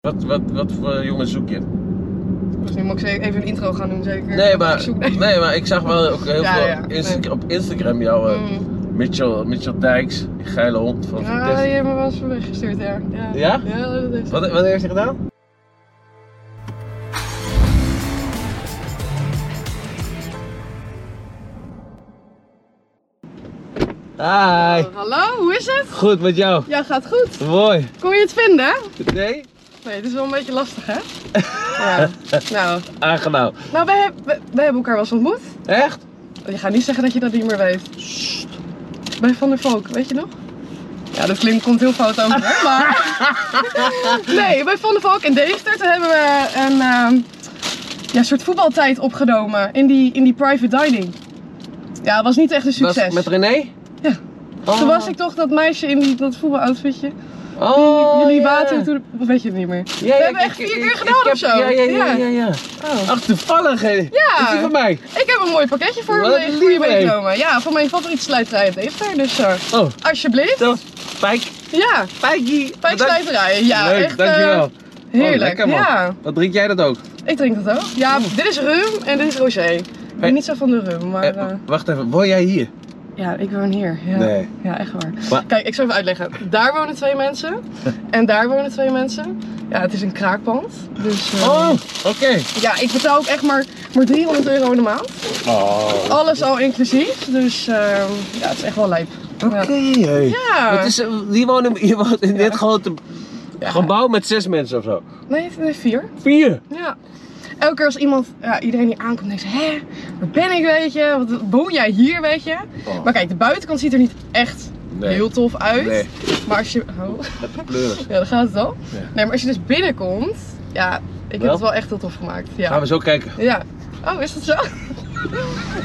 Wat, wat, wat voor jongens zoek je? Dus nu moet ik zeker even een intro gaan doen, zeker. Nee, Ik maar, zoek nee. nee, maar ik zag wel ook heel Ja, veel ja, Insta- nee. op Instagram jou, eh, Mm. Ah, Mitchell, Mitchell Dijks, die geile hond van Ja, Vitesse. die hebben me wel eens bericht gestuurd, ja. Ja? Ja? dat is Wat, wat heeft hij gedaan? Hi, Oh, Hallo, hoe is het? goed met jou. Ja, gaat goed. Mooi. Kon je het vinden? Nee? Nee, het is wel een beetje lastig, hè? ja. Nou, Aangenaam. nou wij, heb- wij, wij hebben elkaar wel eens ontmoet. Echt? Je gaat niet zeggen dat je dat niet meer weet. Bij Van der Valk, weet je nog? Ja, dat klinkt, komt heel fout over, hè, maar... nee, bij Van der Valk in Deventer toen hebben we een ehm, ja, soort voetbaltijd opgenomen in die, in die private dining. Ja, het was niet echt een Was het succes. met René? Ja. Oh. Toen was ik toch dat meisje in die, dat voetbaloutfitje. Oh, Jullie ja. water, toen, of weet je het niet meer. Ja, ja, we hebben ik- echt ik- vier ik- keer ik gedaan heb- of zo. Ja, ja, ja, ja. ja. Oh. Ach, toevallig. hè. Ja. Is die van mij? Ik heb een mooi pakketje voor, Wat me, voor lief, je hè. meegenomen. Ja, van mijn favoriete slijterij in Deventer. Dus eh, Oh, alsjeblieft. dat Pijk. Ja, Pijkie. Dank- pijkslijterijen. Ja, Leuk, echt eh, dankjewel. heerlijk. Oh, lekker man. Ja, Wat drink jij dat ook? ik drink dat ook. Ja, dit is rum en dit is rosé. Ik Hey. ben niet zo van de rum, maar Eh, eh, wacht even, woon jij hier? ja, ik woon hier. Ja, Nee. ja echt waar. Maar- Kijk, ik zal even uitleggen. Daar wonen twee mensen en daar wonen twee mensen. Ja, het is een kraakpand. Dus eh, Oh, oké. ja, ik betaal ook echt maar, maar 300 euro in de maand. Oh, oké. Alles al inclusief, dus eh, ja, het is echt wel lijp. Ja. hey. Ja. Wat is, eh, die wonen, je woont in dit grote Ja. gebouw met zes mensen of zo. Nee, nee, vier. Vier. Ja. Elke keer als iemand, ja, iedereen die aankomt, denkt ze, hè, waar ben ik, weet je? Wat, woon jij hier, weet je? Oh. Maar kijk, de buitenkant ziet er niet echt Nee. heel tof uit. Nee. Maar als je, oh, Met de pleuren. ja, dan gaat het al. Ja. Nee, maar als je dus binnenkomt, ja, ik Wel? heb het wel echt heel tof gemaakt. Ja. Gaan we zo kijken. ja. Oh, is dat zo?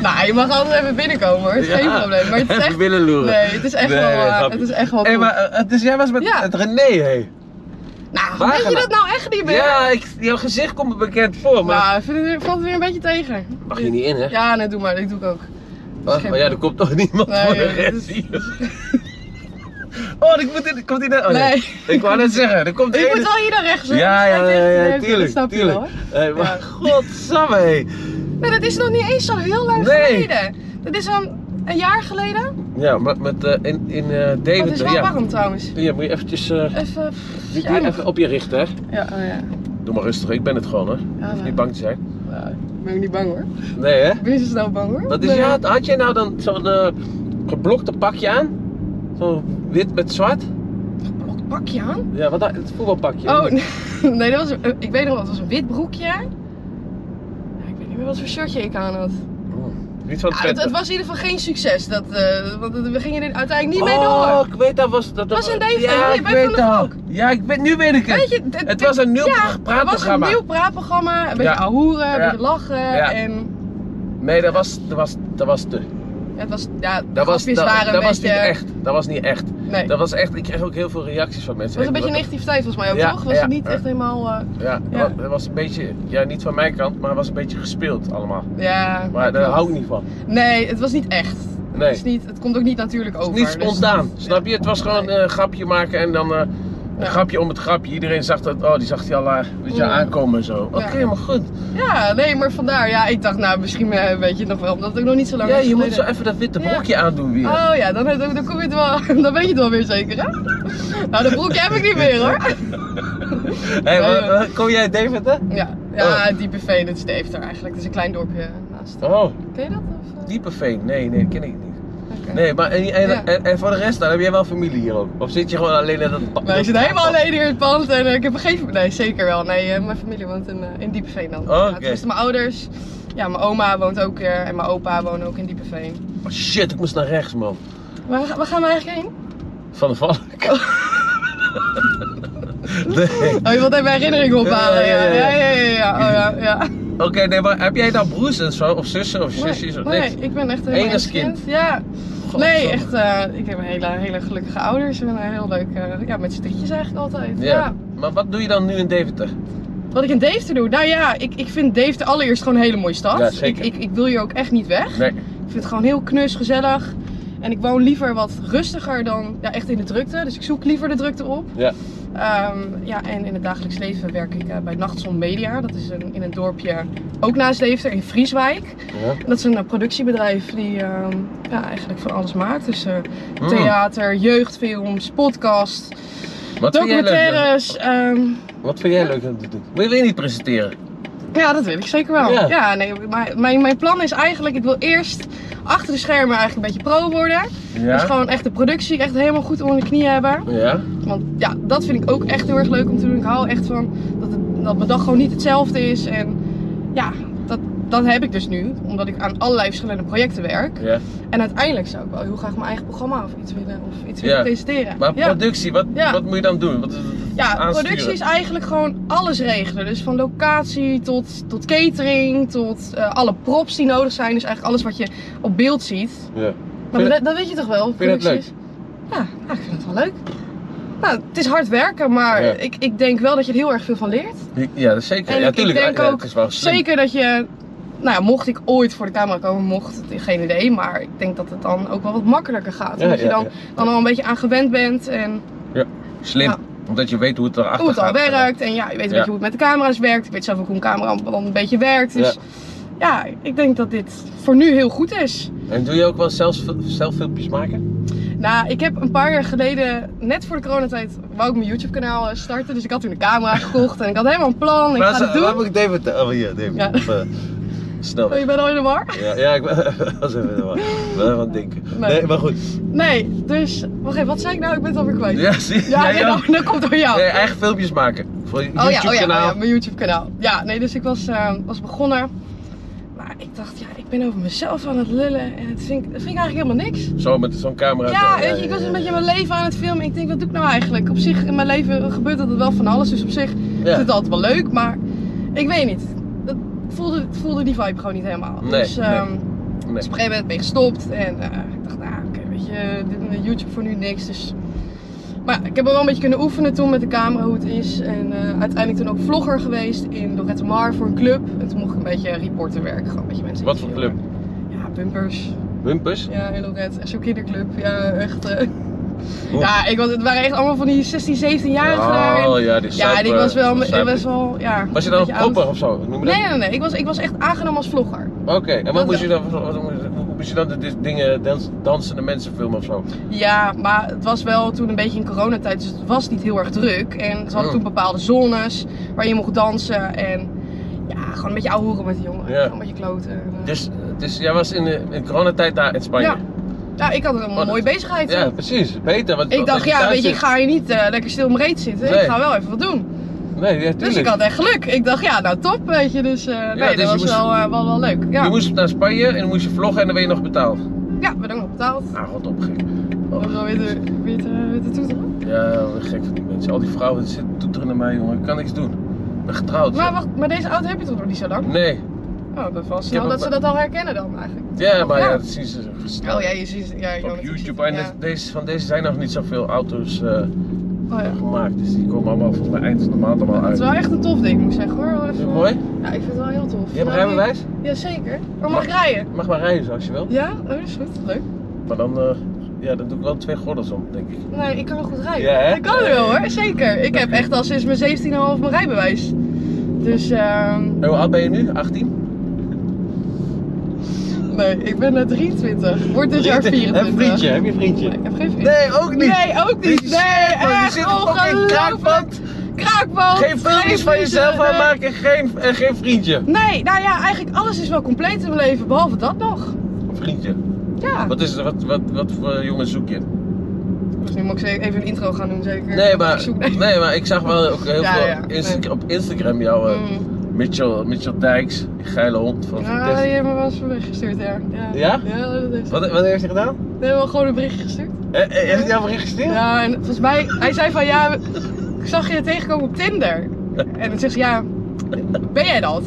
nou, je mag altijd even binnenkomen hoor, het is Ja. geen probleem. Maar het is Even echt, binnen loeren. nee, het is echt Nee, wel, eh, grapje. het is echt wel Hé, tof. maar eh, dus jij was met, Ja. met René, hé? nou, waar weet gaan je we? dat nou echt niet meer? Ja, ik, jouw gezicht komt me bekend voor, maar Nou, ik vind het, valt het weer een beetje tegen. mag je niet in, hè? Ja, nee, doe maar, dat doe ik ook. Oh, geen- maar ja, er komt toch niemand Nee, voor de ja, dus- dat rest is- hier. Oh, ik moet in, komt hij daar? Oh, nee. Nee. Ik wou net zeggen, er komt de Ik ene... moet wel hier naar rechts. hoor. Ja, ja, Dat is ja, echt ja, leuk, dat tuurlijk, snap je tuurlijk. wel. Hé, maar Ja. godsamme, hé. Nee, dat is nog niet eens zo heel lang Nee. geleden. Dat is een, een jaar geleden. Maar Ja, maar met, eh, in, in eh Oh, het is Deventer, wel ja. warm trouwens. Ja, moet je eventjes, eh, Even. pff, die- die ja, even op je richten, hè. ja, oh ja. Doe maar rustig, ik ben het gewoon, hè. Ja, Hoef nou, Niet bang te zijn. nou, ik ben ook niet bang hoor. Nee, hè. Ik ben niet zo snel bang hoor. Wat is, Nee. ja, had jij nou dan zo'n eh geblokte pakje aan? Zo wit met zwart? Blok- Oh, Pakje aan? Ja, wat, had- het voetbalpakje. Oh, nee, nee, dat was, een- eh, ik weet nog wel, het was een wit broekje. Ja, ik weet niet meer wat voor shirtje ik aan had. Niet van Ja, het, Twente. het was in ieder geval geen succes, dat, eh, want we gingen er uiteindelijk niet mee oh, door. ik weet dat was... Dat Was in deze. Deventer, Ja, hier ik bij Van weet der dat. Valk. Ja, ik weet, nu weet ik het. Weet je, dit- het was een nieuw Ja, Het was een praatprogramma. nieuw praatprogramma. Een beetje Ja. ahoeren, een Ja. beetje lachen. Ja. En Nee, dat was, dat was, dat was te. het was, ja, de Dat was, grapjes dat, waren dat een was beetje... niet echt. Dat was niet echt. Nee. Dat was echt. Ik kreeg ook heel veel reacties van het mensen. was een Hey, beetje wat- negativiteit volgens mij ook, Ja, toch? Was ja. het niet echt helemaal... eh, Ja, Ja. dat was een beetje. Ja, niet van mijn kant, maar het was een beetje gespeeld allemaal. ja. Maar eh, daar hou ik niet van. Nee, het was niet echt. Nee. Het, is niet, het komt ook niet natuurlijk over. Het is niet dus- spontaan, snap je? Het was gewoon Nee. eh, een grapje maken en dan eh, een Ja. Mm. grapje om het grapje. Iedereen zag dat, oh, die zag hij al eh, weet je, Ja. aankomen en zo. Oké, maar goed. Ja, nee, maar vandaar. Ja, ik dacht, nou, misschien eh, weet je het nog wel, omdat het ook nog niet zo lang Ja, is je moet zo geleden. even dat witte Ja. broekje aandoen weer. Oh ja, dan, dan, dan kom je het wel, dan weet je het wel weer zeker, hè? nou, dat broekje heb ik niet meer, hoor. Hey, Nee, wa- wa- kom jij Deventer? Ja, ja diepe veen, het is Deventer eigenlijk. Het is een klein dorpje naast. Oh, Ken je dat? Of, eh? Diepenveen. Nee, nee, dat ken ik niet. Oké. Nee, maar en, en, Ja. en, en voor de rest, dan heb jij wel familie hier ook? Of zit je gewoon alleen in dat pand? Nee, ik zit helemaal alleen hier in het pand en eh, ik heb een gegeven... Nee, zeker wel. Nee, eh, mijn familie woont in, eh, in Diepeveen dan. Oh, Oké. Ja, tenminste, mijn ouders. Ja, mijn oma woont ook hier en mijn opa wonen ook in Diepeveen. Oh, shit, ik moest naar rechts, man. Waar, ga- waar gaan we eigenlijk heen? Van de Valk. nee. Oh, je wilt even herinneringen ophalen. Ja, Ja, ja, ja, ja. ja, ja, ja. ja. Oh, ja, ja. Oké, nee, maar heb jij dan broers en zo? Of zussen of zusjes? Nee, of nee, niks? ik ben echt helemaal Enig kind. Ja. Nee, echt. eh, ik heb hele, hele gelukkige ouders en een heel leuk... eh, ja, met z'n drietjes eigenlijk altijd. Ja. ja. Maar wat doe je dan nu in Deventer? Wat ik in Deventer doe? Nou ja, ik, ik vind Deventer allereerst gewoon een hele mooie stad. Ja, zeker. Ik, ik, ik wil hier ook echt niet weg. Nee. Ik vind het gewoon heel knus, gezellig. En ik woon liever wat rustiger dan ja, echt in de drukte. Dus ik zoek liever de drukte op. Ja. Ehm, ja, en in het dagelijks leven werk ik eh, bij Nachtzon Media. Dat is een, in een dorpje ook naast Leefster in Frieswijk. Ja. Dat is een eh, productiebedrijf die ehm, ja, eigenlijk van alles maakt. Dus eh, Mm. theater, jeugdfilms, podcast, Wat vind jij leuk? documentaires. ehm, dan? Wat vind jij leuk om te doen? Wil je weer niet presenteren? ja, dat wil ik zeker wel. Ja. Ja, nee, maar mijn, mijn plan is eigenlijk, ik wil eerst achter de schermen eigenlijk een beetje pro worden. Dus Ja. gewoon echt de productie echt helemaal goed onder de knie hebben. Ja. Want ja, dat vind ik ook echt heel erg leuk om te doen. Ik hou echt van dat, het, dat mijn dag gewoon niet hetzelfde is. En ja, dat, dat heb ik dus nu. Omdat ik aan allerlei verschillende projecten werk. ja. En uiteindelijk zou ik wel heel graag mijn eigen programma of iets willen, of iets Ja. willen presenteren. Maar ja. productie, wat, Ja. wat moet je dan doen? Wat is het Ja, aansturen? productie is eigenlijk gewoon alles regelen. Dus van locatie tot, tot catering, tot eh, alle props die nodig zijn. Dus eigenlijk alles wat je op beeld ziet. Ja. Maar Vind- dat, dat weet je toch wel? je dat leuk? producties? Ja, ja, ik vind het wel leuk. Nou, het is hard werken, maar Ja. ik, ik denk wel dat je er heel erg veel van leert. Ja, dat is zeker. En Ja, ik tuurlijk. denk ja, ja, ook het is wel Nou, slim. Zeker dat je, nou ja, mocht ik ooit voor de camera komen, mocht, geen idee. Maar ik denk dat het dan ook wel wat makkelijker gaat. Ja, Omdat je ja, dan, ja. dan al een beetje aan gewend bent en Slim. Ja. Omdat je weet hoe het erachter hoe het al gaat. werkt. En ja, je weet een Ja. beetje hoe het met de camera's werkt. Ik weet zelf ook hoe een camera dan een beetje werkt. Dus Ja. ja. ik denk dat dit voor nu heel goed is. En doe je ook wel zelf, zelf filmpjes maken? Nou, ik heb een paar jaar geleden, net voor de coronatijd, wou ik mijn YouTube kanaal starten. Dus ik had toen een camera gekocht en ik had helemaal een plan. Ik Maar ga zo- dit doen. Waar moet ik David... Oh, hier, David. Ja. Of, eh, snel Oh, weg. je bent al in de war? Ja, ja, ik ben- was even ik ben even aan het denken. Nee. Nee, maar goed. Nee, dus, wacht even, wat zei ik nou? Ik ben het alweer kwijt. Ja, zie Ja, jij nee, ook? dat, dat komt door jou. Nee, eigen filmpjes maken. Voor je oh, ja, oh, ja, oh ja, YouTube-kanaal. mijn YouTube kanaal. Ja, nee, dus ik was, eh, was begonnen. Maar ik dacht, ja, ik ben over mezelf aan het lullen. En het vind, ik- dat vind ik eigenlijk helemaal niks. Zo, met zo'n camera. Ja, zo. weet je, ik was een beetje mijn leven aan het filmen. Ik denk, wat doe ik nou eigenlijk? Op zich, in mijn leven gebeurt dat wel van alles. Dus op zich is Ja. het altijd wel leuk. Maar ik weet niet. Dat voelde, ik voelde die vibe gewoon niet helemaal. Nee, dus, nee. ehm, Nee. dus op een gegeven moment ben ik gestopt. En eh, ik dacht, nou, oké, weet je, dit met YouTube voor nu niks. Dus... Maar ja, ik heb er wel een beetje kunnen oefenen toen met de camera hoe het is. En eh, uiteindelijk toen ook vlogger geweest in Lorette Mar voor een club. En toen mocht ik een beetje reporter werken. Gewoon een beetje mensen Wat voor club? interviewen. Ja, bumpers. Wimpers? Ja, in Lorette. Echt zo'n kinderclub. Ja, echt. eh. Hoe- Ja, ik was, het waren echt allemaal van die 16, 17-jarigen daar. En- Oh ja, die ja, en ik zuipen- was wel, ik zuipen. was wel, ja. Was je een dan beetje oud. proper of zo? Noem je dat? Nee, nee, nee. Ik was, ik was echt aangenomen als vlogger. Oké, en wat Dat moest je wel. dan, wat, wat- wat- moest je dan de, de dingen, dans, dansende mensen filmen of zo? Ja, maar het was wel toen een beetje in coronatijd, dus het was niet heel erg druk. En ze hadden Oh. toen bepaalde zones waar je mocht dansen en ja, gewoon een beetje ouwe hoeren met die jongen. Ja. Gewoon een beetje kloten. En, eh, Dus, dus jij was in, de, in coronatijd daar in Spanje? Ja. ja, ik had een Oh, dat- mooie bezigheid. Ja, precies. Beter. Want, ik dacht, ja, weet je, ik ga hier niet eh, lekker stil om reet zitten. Nee. Ik ga wel even wat doen. Nee, ja, tuurlijk. Dus ik had echt geluk. Ik dacht, ja, nou top, weet je. Dus eh, nee, dus je dat was moest- wel, eh, wel, wel leuk. Ja, Je moest naar Spanje en dan moest je vloggen en dan werd je nog betaald. ja we doen nog betaald. Ah, god op, gek. Oh, We hebben wel weer de, weer de, weer de toeteren. Ja, wat gek van die mensen. Al die vrouwen die zitten toeteren naar mij, jongen. Ik kan niks doen. Ik ben getrouwd. Maar wacht, maar deze auto heb je toch nog niet zo lang? Nee. Oh, dat was heb snel dat hem- ze dat al herkennen dan eigenlijk. Ja, maar ja, Ja. dat zien ze snel. Oh ja, je ziet ja, ik kan Op het YouTube. zien. En Ja. deze, van deze zijn nog niet zoveel auto's eh, Oh ja. gemaakt. Dus die komen allemaal volgens mij eind van de maand allemaal Het is uit. wel echt een tof ding, moet ik zeggen hoor. Wel Is even- het mooi? Ja, ik vind het wel heel tof. Je hebt Nou, rijbewijs? nu- Jazeker. Maar mag ik rijden? Je mag maar rijden als je wil. Ja? Oh, dat is goed. Leuk. Maar dan, eh, ja, dan doe ik wel twee gordels om, denk ik. Nee, ik kan wel goed rijden. Ja, hè? Ik kan het wel hoor, zeker. Ik heb echt al sinds mijn 17,5 mijn rijbewijs. Dus ehm En Oh, hoe oud ben je nu? 18? nee, ik ben net 23. Word dit jaar Heb je 24. een vriendje? Heb je een vriendje? Nee, ik heb geen vriend. Nee, ook niet! Oh, Nee, ook niet. Die Nee, shit, man, echt Je zit op een ongelooflijk. kraakband. Kraakband. Geen filmpjes van vrienden, jezelf nee. aanmaken en geen, en geen vriendje. Nee, nou ja, eigenlijk alles is wel compleet in mijn leven, behalve dat nog. Een vriendje. Ja. Wat, is, wat, wat, wat voor jongen zoek je? Dus nu moet ik ze- even een intro gaan doen, zeker. Nee, Ik maar, zoek- nee, maar ik zag wel ook heel Ja, veel ja, nee. Insta- op Instagram jou, eh, Mm. Ah, Mitchell, Mitchell Dijks, die geile hond van Ja, Vitesse. die hebben me wel eens een bericht gestuurd, ja. Ja? Ja? dat heeft ze. Wat, wat heeft hij gedaan? Die hebben wel gewoon een bericht gestuurd. Eh, eh, Heeft hij jou geregistreerd? Ja, en volgens mij, hij zei van ja, ik zag je tegenkomen op Tinder. En dan zegt ze ja, ben jij dat?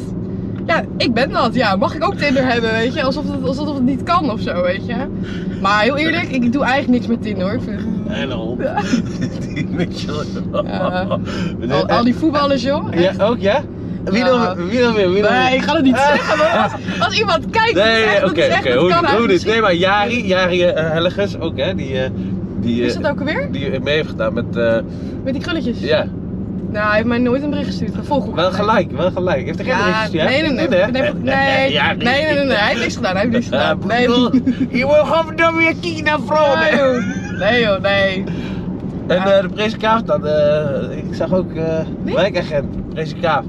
Ja, ik ben dat, ja. Mag ik ook Tinder hebben, weet je? Alsof het, alsof het niet kan of zo, weet je? Maar heel eerlijk, ik doe eigenlijk niks met Tinder hoor. Ik vind het- Geile hond. Ja. Die Mitchell. Ja. al, Oh, al die voetballers, joh. Oh, eh, Ja, ook ja? Wie Ja. dan, wie dan weer? Wie dan Nee, weer? ik ga het niet Ah. zeggen, maar als, als iemand kijkt, dat is Nee, echt- oké, dat oké. is echt, dat hoe kan hoe eigenlijk dit? Nee, maar Jari, Jari eh, Hellegers ook, hè? Die, eh, Die, Is eh, dat ook alweer? die mee heeft gedaan met. eh, Met die krulletjes? ja, Nou, hij heeft mij nooit een bericht gestuurd. Gevolg. wel gelijk, wel gelijk. Heeft er geen Ja, reactie, hè? nee, nee, nee. Goed, hè? Nee, nee, nee. Ja, nee, nee, nee, nee. Hij heeft niks gedaan. Hij heeft niks Ja, gedaan. Nee, bedoel, Je wil gewoon dan weer kijken naar nee, vrouwen. joh. Nee, joh, nee. En eh, de presentaaf dan, eh, ik zag ook eh, Wie? wijkagent, presentaaf.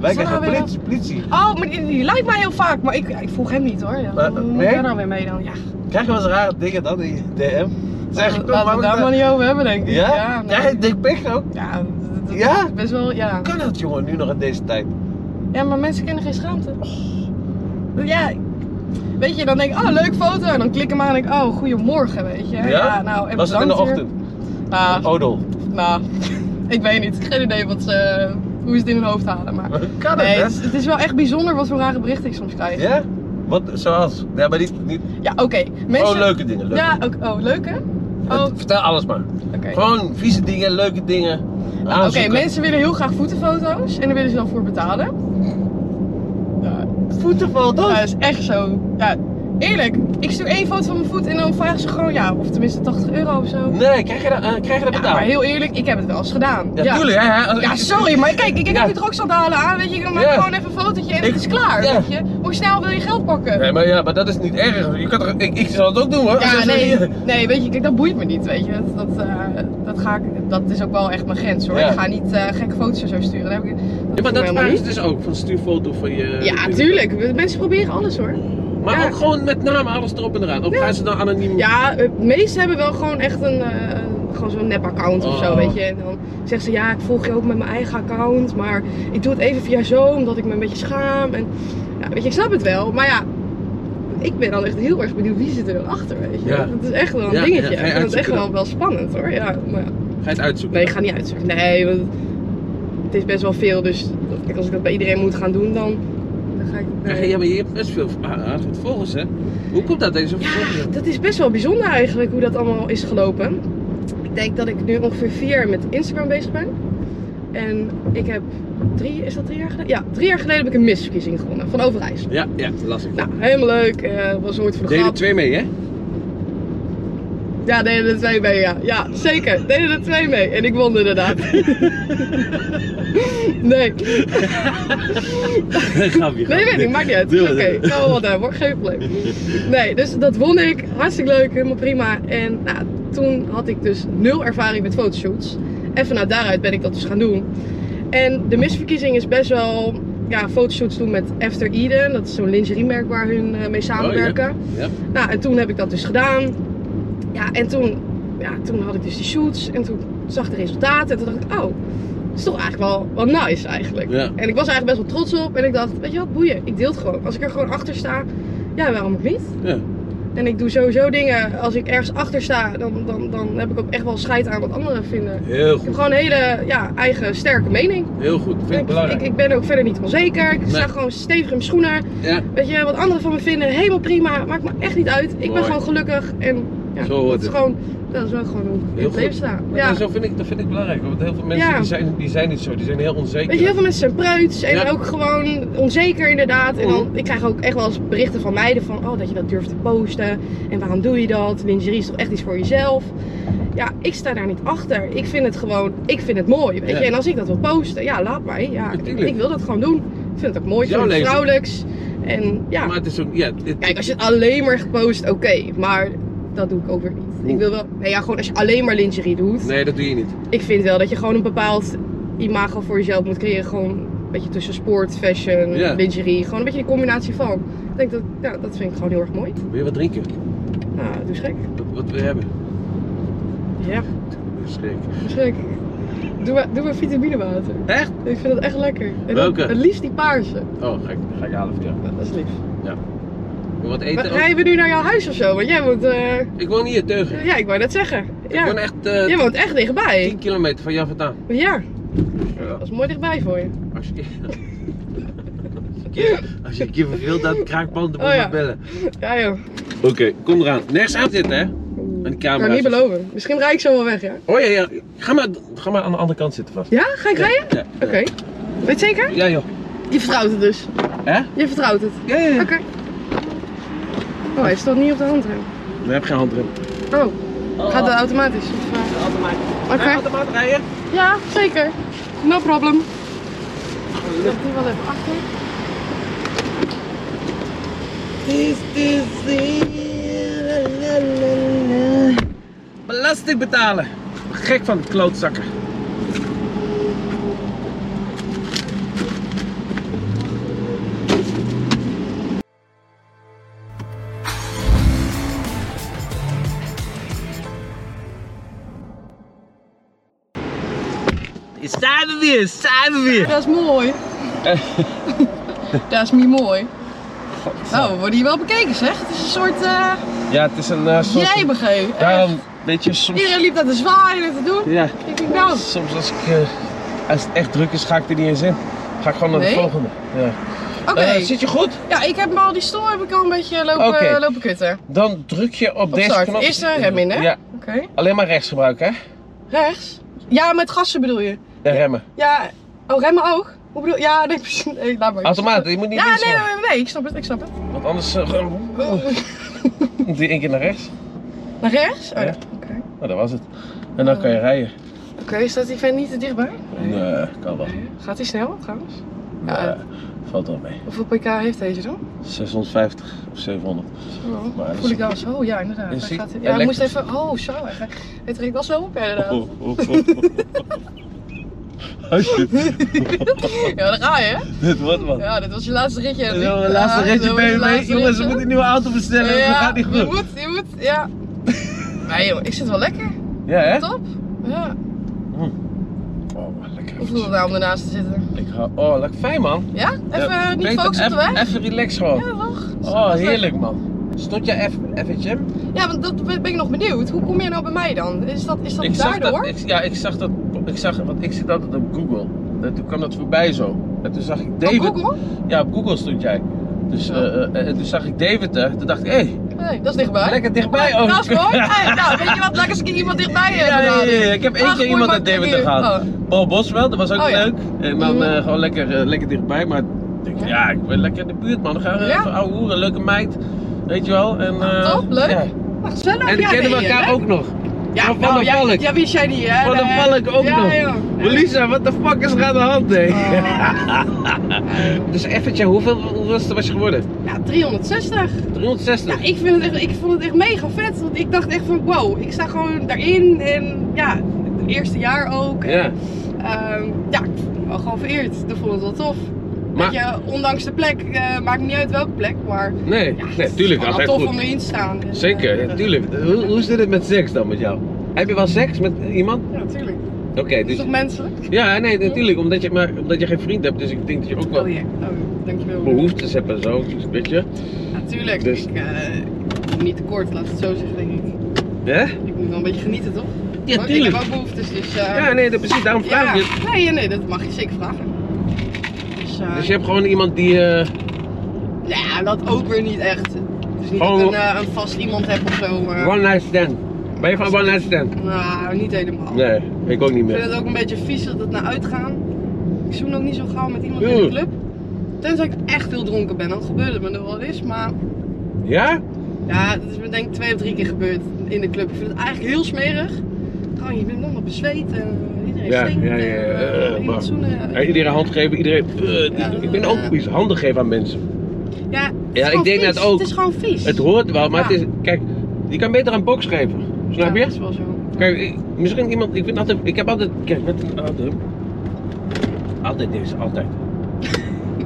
Wijkagent, weer politie, politie. Oh, maar die, die lijkt mij heel vaak, maar ik, ik volg hem niet hoor. Ja, Maar, hoe moet nee? ik daar dan weer mee dan? Ja, Krijg je wel eens rare dingen dan in je DM? Zeg, Nou, laten we het daar maar niet over hebben, denk ik. eh, Ja? Ja, nee. Krijg je dik pik ook? Ja, dat- dat Ja? is best wel, ja. Hoe nou- kan dat jongen nu nog in deze tijd? Oh, Ja, maar mensen kennen geen schaamte. Oh. Ja, weet je, dan denk ik, oh, leuk foto. En dan klik hem aan en denk ik, oh, goedemorgen, weet je. Ja? nou, en Was het in de bedankt hier. ochtend? Oh. Nou, Odol. nou, ik weet niet. Geen idee wat ze, hoe ze het in hun hoofd halen, maar... Hoe kan dat, Nee, hè? het, is- het is wel echt bijzonder wat voor rare berichten ik soms krijg. Ja? Oh, Wat, zoals? Ja, maar niet, niet Ja, oké. Mensen... gewoon leuke dingen. Leuke Ja, ook, oh, leuk hè? dingen. Oh, oké. Vertel alles maar. Gewoon vieze dingen, leuke dingen. Oké, aanzoeken. mensen willen heel graag voetenfoto's en daar willen ze dan voor betalen. Ja, Voetenfoto's? dat is echt zo. Ja, eerlijk, ik stuur één foto van mijn voet en dan vragen ze gewoon ja, of tenminste 80 euro of zo. Nee, krijg je dat, eh, krijg je dat Ja, betaald? maar heel eerlijk, ik heb het wel eens gedaan. Ja, tuurlijk. Hè, hè, als- Ja, sorry, maar kijk, ik ik Ja. heb nu drogstandalen aan, weet je, dan maak ik Ja. gewoon even een fotootje en Ik- het is klaar, Ja. weet je. Hoe snel wil je geld pakken? Nee, maar ja, maar dat is niet erg. Je kan toch, ik, ik zal het ook doen hoor. Als Ja, je- nee, nee, weet je, kijk, dat boeit me niet, weet je. Dat, dat, eh, dat, ga ik, dat is ook wel echt mijn grens, hoor. Ja. Ik ga niet eh, gekke foto's en zo sturen. Dat, heb ik, Ja, dat doe maar dat ik helemaal vragen ze niet. dus ook, van stuur foto van je... Ja, tuurlijk. Mensen proberen alles, hoor. Maar Ja. ook gewoon met naam alles erop en eraan. Of gaan ze dan anoniem... Ja, eh, de meesten hebben wel gewoon echt een... eh, gewoon zo'n nep-account of zo, Oh. weet je. En dan zeggen ze, ja, ik volg je ook met mijn eigen account. Maar ik doe het even via zo, omdat ik me een beetje schaam. En, ja, weet je, ik snap het wel. Maar ja, ik ben dan echt heel erg benieuwd wie zit er dan achter, weet je. Ja. Dat is echt wel een Ja, dingetje. ja, ga je dat is echt uitzoeken wel, dan. wel spannend, hoor. Ja, maar ja. Ga je het uitzoeken? Nee, ik ga niet uitzoeken. Nee, want het is best wel veel. Dus kijk, als ik dat bij iedereen moet gaan doen, dan, dan ga ik. eh, nee. Ja, maar je hebt best veel ah, aardig wat volgers, hè? Hoe komt dat deze Ja, dat is best wel bijzonder eigenlijk hoe dat allemaal is gelopen. Ik denk dat ik nu ongeveer vier jaar met Instagram bezig ben. En ik heb drie, is dat drie jaar geleden? Ja, drie jaar geleden heb ik een misverkiezing gewonnen van Overijssel. Ja, ja, lastig. Nou, helemaal leuk. eh, was een soort van de Deden grap. twee mee, hè? Ja, deden er twee mee, ja. Ja, zeker. Deden er twee mee. En ik won inderdaad. nee. Grapje. Nee, weet ik, maakt niet uit. Doe Oké, het even. nou wat daar, wordt geen probleem. Nee, dus dat won ik. Hartstikke leuk, helemaal prima. En nou, toen had ik dus nul ervaring met fotoshoots. En vanuit daaruit ben ik dat dus gaan doen. En de misverkiezing is best wel ja, fotoshoots doen met After Eden. Dat is zo'n lingeriemerk waar hun eh, mee samenwerken. Oh, Ja. Nou, en toen heb ik dat dus gedaan. Ja, en toen, ja, toen had ik dus die shoots en toen zag ik de resultaten. En toen dacht ik, oh, dat is toch eigenlijk wel, wel nice eigenlijk. Ja. En ik was er eigenlijk best wel trots op. En ik dacht, weet je wat, boeien, ik deel het gewoon. Als ik er gewoon achter sta, ja, waarom ook niet? Ja. En ik doe sowieso dingen, als ik ergens achter sta, dan, dan, dan heb ik ook echt wel scheid aan wat anderen vinden. Heel Ik heb goed, gewoon een hele ja, eigen sterke mening. heel goed. Vind ik belangrijk. ik, ik ben ook verder niet onzeker. Ik sta Nee. gewoon stevig in mijn schoenen. Ja, Weet je, wat anderen van me vinden, helemaal prima. Maakt me echt niet uit. Ik Mooi. ben gewoon gelukkig. En ja, Zo hoort dat is het. gewoon, dat is wel gewoon hoe ik in Heel het leven goed. sta. Maar Ja. zo vind ik, dat vind ik belangrijk. hoor, Want heel veel mensen Ja. die zijn, die zijn niet zo, die zijn heel onzeker. Weet je, heel veel mensen zijn preuts en Ja. ook gewoon onzeker inderdaad. En dan, Mhm. ik krijg ook echt wel eens berichten van meiden van, oh, dat je dat durft te posten. En waarom doe je dat? Lingerie is toch echt iets voor jezelf? Ja, ik sta daar niet achter. Ik vind het gewoon, ik vind het mooi, weet Ja. je. En als ik dat wil posten, ja, laat mij. Ja, ik, Natuurlijk. ik wil dat gewoon doen. Ik vind het ook mooi, ik Jouw vind het leven. vrouwelijks. En ja, Maar het is ook, ja, het- Kijk, als je het alleen maar gepost, oké, maar dat doe ik ook weer niet. Ik wil wel, nee ja, gewoon als je alleen maar lingerie doet. nee, dat doe je niet. Ik vind wel dat je gewoon een bepaald imago voor jezelf moet creëren. Gewoon een beetje tussen sport, fashion, Ja. lingerie. Gewoon een beetje een combinatie van. Ik denk dat, ja, dat vind ik gewoon heel erg mooi. Wil je wat drinken? Nou, doe schrik. Wat, wat we hebben? Ja, Schrik. doe schrik. Doe maar, doe maar vitaminewater. Echt? Ik vind dat echt lekker. En dan- Welke? Het liefst die paarse. Oh, ga ik, ga ik halen voor jou. Ja, Dat is lief. Wil je wat Maar eten? ook? rijden we nu naar jouw huis of zo? Want jij moet, eh, Ik woon hier, Teugen. ja, ik wou net zeggen. Ik woon Ja. echt eh, Jij woont echt dichtbij. 10 kilometer van jou vandaan. Ja, Ja. dat is mooi dichtbij voor je. Als je, als je een keer verveelt, dan kraakbanden moet Oh je ja. maar bellen. Ja joh. Oké, kom eraan. Nergens aan zitten, hè? Aan de Kan camera. ik niet beloven. Misschien rijd ik zo wel weg, ja? Oh ja, ja. Ga maar, ga maar aan de andere kant zitten vast. Ja? Ga ik rijden? Ja, Oké. Weet je het zeker? ja joh. Je vertrouwt het dus. Hè? Je vertrouwt het. Ja, ja, ja. Oké. Oh, hij stond niet op de handrem. Nee, heb geen handrem. Oh. Gaat dat automatisch? Of, eh? Automaat. Oké. Hè, Automaat rijden. Ja, zeker. No problem. Ik leg die wel even achter. Is this Belasting betalen. Gek van klootzakken. Hier Zijn we weer, zijn we weer. Dat is mooi. dat is niet mooi. Nou, we worden hier wel bekeken zeg. Het is een soort eh Ja, het is een eh, soort... jij begeven. Daarom, weet je, soms... Iedereen liep daar te zwaaien en te doen. Ja, Ik denk nou, Soms als, ik, eh, als het echt druk is, ga ik er niet eens in. Ga ik gewoon naar Nee? de volgende. Ja. oké. Eh, zit je goed? Ja, ik heb me al die stoel heb ik al een beetje lopen, Oké. lopen kutten. Dan druk je op, Op deze start. knop. Eerst een rem in, hè? Ja, Oké. alleen maar rechts gebruiken, hè? Rechts. Ja, met gassen bedoel je? De remmen. Ja. Oh, remmen ook? Hoe bedoel Ja, nee, precies. Nee, laat maar. Automaat, je moet niet Ja, links nee, gaan. nee, nee, ik snap het, ik snap het. Want anders eh, gewoon- moet je één keer naar rechts. Naar rechts? Oh, Ja. ja. Oké, Nou, dat was het. En dan kan je rijden. Oké, staat die vent niet te dichtbij? Nee, kan wel. Gaat hij snel trouwens? Nee, valt wel mee. Hoeveel pk heeft deze dan? 650 of 700. Zo. Maar dat is- Voel ik dan zo? Ja, inderdaad. Is Hij die gaat, ja, ik moest elektrisch? even. Oh, zo. hij gaat- Het trekt wel zo op, ja, inderdaad. Oh, oh, oh, oh. Alsje, Ja, daar ga je. hè? dit wordt wat. Ja, dit was je Ah, laatste ritje. Dit Henry. wordt mijn laatste Ja, ritje dit was je BMW. laatste Jongens, we ritje. moeten een nieuwe auto bestellen. Ja, Dat gaat niet Je goed. moet, je moet, ja. Nee joh, ik zit wel lekker. Ja, hè? Top. Ja. Oh, maar lekker. Ik voel het nou om ernaast te zitten. Ik hou... Oh, lekker fijn, man. Ja? Even Ja, eh, niet beter focussen op de eff- weg? Even relax gewoon. Ja, toch? Oh, heerlijk, man. Stond je even, even Jim? Ja, want dat ben ik nog benieuwd. Hoe kom je nou bij mij dan? Is dat, is dat Oh, Ik zag daardoor? dat, ik, ja, ik zag dat, ik zag, want ik zit altijd op Google. En toen kwam dat voorbij zo. En toen zag ik David. Op Google? Ja, op Google stond jij. Dus, Ja. eh, eh, en toen zag ik David er. Toen dacht ik, hé, hey, Nee, dat is dichtbij. lekker dichtbij. Ja, Oh, Dat is mooi. Hey, nou, weet je wat? Lekker eens een keer iemand dichtbij Ja, hebben. ja, ja, dan. ja. ik heb één Ah, keer goed, iemand maar naar David hier- gehad. Paul Boswell, dat was ook Oh, ja. leuk. En dan Mhm. eh, gewoon lekker, eh, lekker dichtbij. Maar ik denk, ja, ik ben lekker in de buurt, man. Dan gaan we Ja. Ah, even ouwe hoeren, leuke meid. Weet je wel. En, eh, top, leuk. ja. Oh, wat gezellig. En die Ja, kennen we nee, elkaar hè? ook nog. Ja, Van nou, de ja, Valk. Ja, wist jij die, hè? Van de Nee. Valk ook ja, nog. Ja, Melissa, wat de fuck is er aan de hand, hè? Oh. Dus eventjes, hoeveel hoeveelste was je geworden? ja, 360. 360. Ja, ik, vind het echt, ik vond het echt mega vet. Want ik dacht echt van wow, ik sta gewoon daarin. En ja, het eerste jaar ook. En, Ja. ehm, ja, ik voel me wel gewoon vereerd. Ik vond het wel tof. Maar- Weet je, ondanks de plek, eh, maakt niet uit welke plek, maar Nee, ja, nee, tuurlijk, het is gewoon wel altijd tof goed. om erin te staan. Dus, Zeker, eh, ja, tuurlijk. Hoe, hoe zit het met seks dan met jou? Heb je wel seks met iemand? Ja, natuurlijk. Oké, Dat is dus... toch menselijk? Ja, nee, natuurlijk, omdat je, maar, omdat je geen vriend hebt, dus ik denk dat je ook wel Oh ja, oh, dankjewel. behoeftes hebt en zo, dus, weet je. Natuurlijk, Dus- ik eh, ik kom niet tekort, laat het zo zeggen, denk ik. Hè? Ik moet wel een beetje genieten, toch? Ja, Oh, ik heb tuurlijk. ook behoeftes, dus... eh, Ja, nee, dat precies, daarom vraag ik het. Ja, nee, nee, dat mag je zeker vragen. Dus, eh, Dus je hebt gewoon iemand die... eh, ja, dat ook weer niet echt. Het is niet Gewoon- dat ik een, eh, een vast iemand heb of zo. maar- one night stand. Ben je van one night stand? Nou, niet helemaal. Nee, ik ook niet Ik meer. vind het ook een beetje vies dat het naar uitgaan. Ik zoen ook niet zo gauw met iemand in Oeh. de club. Tenzij ik echt heel dronken ben, dan gebeurt het me nog wel eens. Maar Ja? ja, dat is me denk ik twee of drie keer gebeurd in de club. Ik vind het eigenlijk heel smerig. Gewoon, je bent allemaal bezweet en eh, iedereen Ja, stinkt ja, ja, en eh, ja, ja, iemand maar- zoenen. Ja, iedereen hand geven, iedereen... eh, Ja, ik ben ook iets handen geven aan mensen. Ja, het is Ja, ik gewoon denk vies. dat ook. Het is gewoon vies. Het hoort wel, maar Ja. het is... Kijk, je kan beter een box geven. Snap Ja, je? dat is wel zo. Kijk, ik- misschien iemand, ik vind altijd, ik heb altijd, kijk, met een auto. Altijd deze, altijd.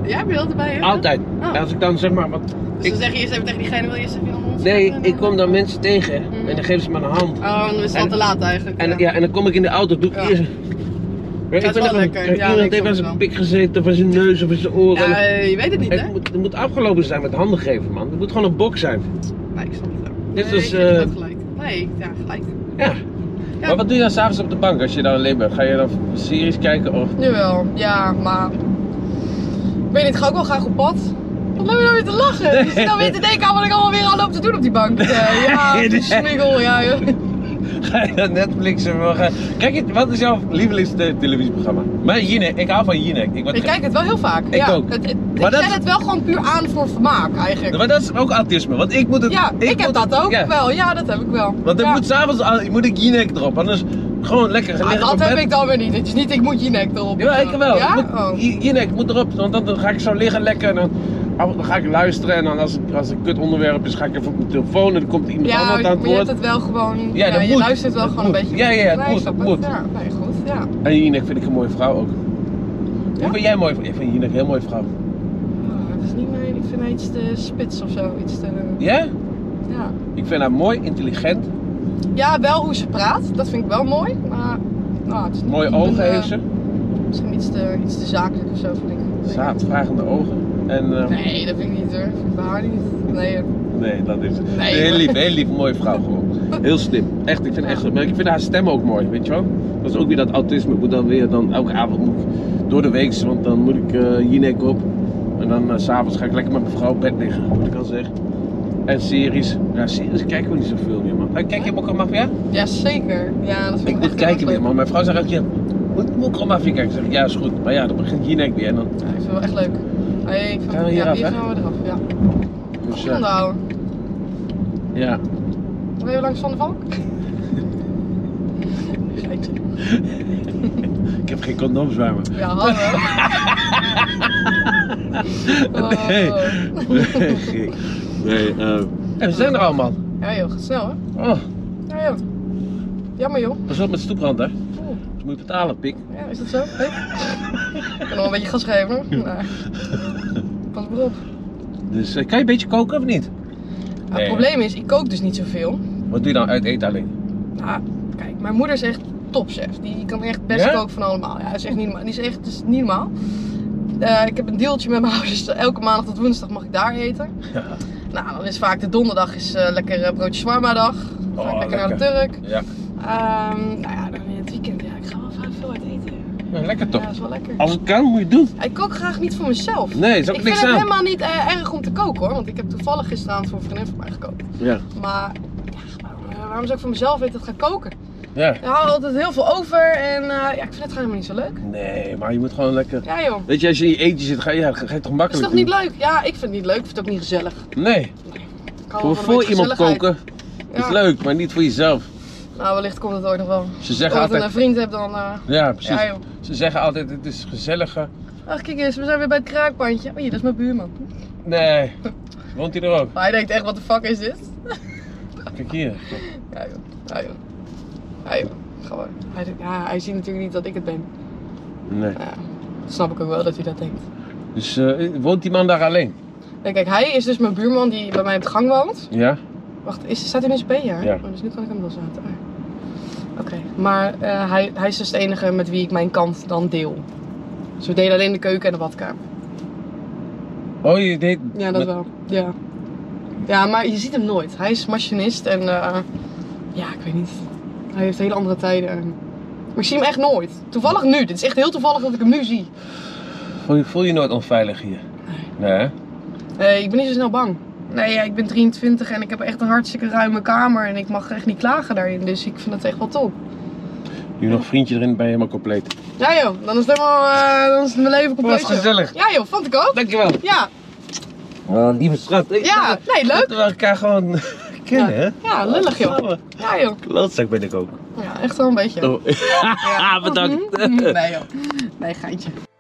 Jij hebt je altijd bij, hè? Altijd. Oh. En als ik dan zeg maar, wat, Dus Ik- dan zeg je eerst even tegen diegene, wil je eerst even iemand ons nee, zetten? ik kom dan mensen tegen en dan geven ze me een hand. Oh, dan is het En- al te laat eigenlijk. En ja. ja, en dan kom ik in de auto, doe ik Ja. eerst. Ja, is wel even- lekker. kijk, Ja, eh, iemand heeft ik aan snap het zijn wel. pik gezeten, of aan zijn neus, of aan zijn oren. Ja, eh, je weet het niet, het, hè? moet, het moet afgelopen zijn met handen geven, man. Het moet gewoon een box zijn. Nee, ik snap het ook. Dit nee, is, ik heb het eh, ook gelijk. Nee, ik- ja, gelijk. Ja. Ja. Maar wat doe je dan s'avonds op de bank als je dan alleen bent? Ga je dan series kijken of... Jawel, ja, maar... Ik weet niet, ik ga ook wel graag op pad. Wat loop je nou weer te lachen? dus- Je zit nou weer te denken aan wat ik allemaal weer aan loop te doen op die bank. Eh, ja, Nee, die nee. smiggel, ja. joh. Ga je dat Netflix Kijk, je- wat is jouw lievelingstelevisieprogramma? Mijn Jinek, ik hou van Jinek. Ik, word Ik ge- kijk het wel heel vaak. Ik ja. ook. Het, het- ik Maar dat- zet het wel gewoon puur aan voor vermaak eigenlijk. Maar dat is ook autisme, want ik moet het... ja, ik, heb moet dat ook ja. wel. Ja, dat heb ik wel. Want dan ja. moet s'avonds al- moet ik Jinek erop, anders gewoon lekker Ah, liggen op dat bed. heb ik dan weer niet. Het is niet, ik moet je nek erop. Ja, ik wel. Ja? Ik moet, Oh. J- Jinek moet erop, want dan, dan ga ik zo liggen lekker en dan, dan ga ik luisteren en dan als het, als het een kut onderwerp is ga ik even op mijn telefoon en dan komt iemand Ja, anders maar aan het je hebt woord. het wel gewoon. Ja, Ja, dat je moet. luistert wel Dat gewoon moet. een beetje. Ja, ja, het Nee, moet, snap het het. moet. Ja, nee, goed. Ja. En Jinek vind ik een mooie vrouw ook. Ja? Ik vind jij mooi, ik vind Jinek een heel mooie vrouw. Ah, het is niet mijn. Ik vind haar iets te spits of zo. Iets te. Ja? Ja. Ik vind haar mooi, intelligent, ja, wel hoe ze praat. Dat vind ik wel mooi. Maar. Nou, het is niet, mooie ik ben, ogen eh, heeft ze. Misschien iets te, iets te zakelijk of zo, vind ik. Zaadvragende ogen. En, eh, Nee, dat vind ik niet hoor. Vind ik bij haar niet. Nee. nee, dat is het. Nee, heel maar- lief, heel lief, mooie vrouw gewoon. Heel slim. Echt, ik vind, echt, maar ik vind haar stem ook mooi, weet je wel. Dat is ook weer dat autisme. Ik moet dan weer, dan, elke avond moet ik door de week, want dan moet ik eh Jinek op. En dan eh, s s'avonds ga ik lekker met mijn vrouw op bed liggen, moet ik al zeggen. En series. Ja, series kijken we niet zoveel meer, man. Eh, Kijk je Mokka Mafia? Jazeker. Ja, dat Ik vind ik moet echt kijken heel weer, leuk. man. Mijn vrouw zegt altijd, ja, moet Mokka Mafia kijken? Ik zeg, ja, is goed. Maar ja, dan begint Jinek weer en dan... Ja, ik vind het wel echt leuk. Hey, ik vind, Gaan we ja, hieraf, die hè? gaan we eraf. Ja. Dus, eh, Kom nou. ja. Ben je langs Van de Valk? Geitje. Ik heb geen condooms bij me. ja, hallo. Oh. Nee. Nee, gek. nee eh, en we zijn er al, man. Ja joh, gaat snel hè? Oh, Ja joh. Jammer joh. pas op met stoeprand, hè. Oeh, Ze moet betalen, pik. Ja, is dat zo? Hey. Ik kan nog een beetje gas geven hoor. Nee. Pas maar op. Dus eh, kan je een beetje koken of niet? Ja, Nee. Het probleem is, ik kook dus niet zoveel. Wat doe je dan uit eten alleen? Nou, kijk, mijn moeder is echt topchef. Die kan echt best Ja? koken van allemaal. Ja, is echt niet normaal. Die is echt het is niet normaal. Eh, ik heb een deeltje met mijn ouders. Elke maandag tot woensdag mag ik daar eten. Ja. Nou, dan is vaak de donderdag is, eh, lekker eh, broodje shawarma dag. Ga ik Oh, lekker, naar de lekker. Turk. Ja. Ehm, nou ja, dan in het weekend. Ja, ik ga wel vaak veel uit eten. lekker Ja, toch? dat is wel lekker. Als het kan, moet je het doen. Ik kook graag niet voor mezelf. Nee, is ook ik vind niks het aan. helemaal niet eh, erg om te koken hoor. Want ik heb toevallig gisteravond voor een vriendin van mij gekookt. Ja. Maar ja, waarom, eh, waarom zou ik voor mezelf weten dat gaan koken? Ja. Ik haal altijd heel veel over en eh, ja, ik vind het gewoon helemaal niet zo leuk. Nee, maar je moet gewoon lekker... Ja joh. Weet je, als je in je eentje zit, ga je, ja, ga je toch Is makkelijk toch niet leuk? Ja, ik vind het niet leuk. Ik vind het ook niet gezellig. doen? Nee. Ik Voor, hou wel van een voor beetje iemand gezelligheid. koken is Ja. leuk, maar niet voor jezelf. Nou, wellicht komt het ooit nog wel. Ze Als zeggen je een altijd... vriend hebt dan... eh, Ja, precies. ja joh. Ze zeggen altijd, het is gezelliger. Ach kijk eens, we zijn weer bij het kraakpandje. Oh hier, dat is mijn buurman. Nee. Woont hij er ook? Maar hij denkt echt, wat de fuck is dit? Kijk hier. Ja joh. Ja joh. Ja joh. Gewoon. Hij, denkt- ja, hij ziet natuurlijk niet dat ik het ben. Nee. Nou, ja, dat snap ik ook wel dat hij dat denkt. Dus eh, woont die man daar alleen? Nee, kijk, hij is dus mijn buurman die bij mij op de gang woont. Ja? Wacht, is, staat hij in zijn ja? Ja. Oh, Dus nu kan ik hem loslaten. Ah. Oké, maar eh, hij, hij is dus de enige met wie ik mijn kant dan deel. Dus we delen alleen de keuken en de badkamer. Oh, je deed... Ja, met- dat wel. Ja. ja, maar je ziet hem nooit. Hij is machinist en eh, ja, ik weet niet. Hij heeft hele andere tijden. en- Maar ik zie hem echt nooit. Toevallig nu. Dit is echt heel toevallig dat ik hem nu zie. Voel je, voel je nooit onveilig hier? Nee. hè? Eh, ik ben niet zo snel bang. Nee, ja, ik ben 23 en ik heb echt een hartstikke ruime kamer. En ik mag echt niet klagen daarin. Dus ik vind het echt wel top. Nu nog een vriendje erin, ben je helemaal compleet. Ja joh, dan is het helemaal, eh, dan is het mijn leven compleet. Was joh. gezellig. Ja joh, vond ik ook. Dankjewel. Ja, Oh, lieve schat. Ik ja, dacht nee, leuk. Dat we elkaar gewoon kennen, hè? Ja, lullig joh. Samen. Ja joh. Klootzak ben ik ook. Ja, echt wel een beetje. Oh. Bedankt. Mhm. Nee joh. Nee, geintje.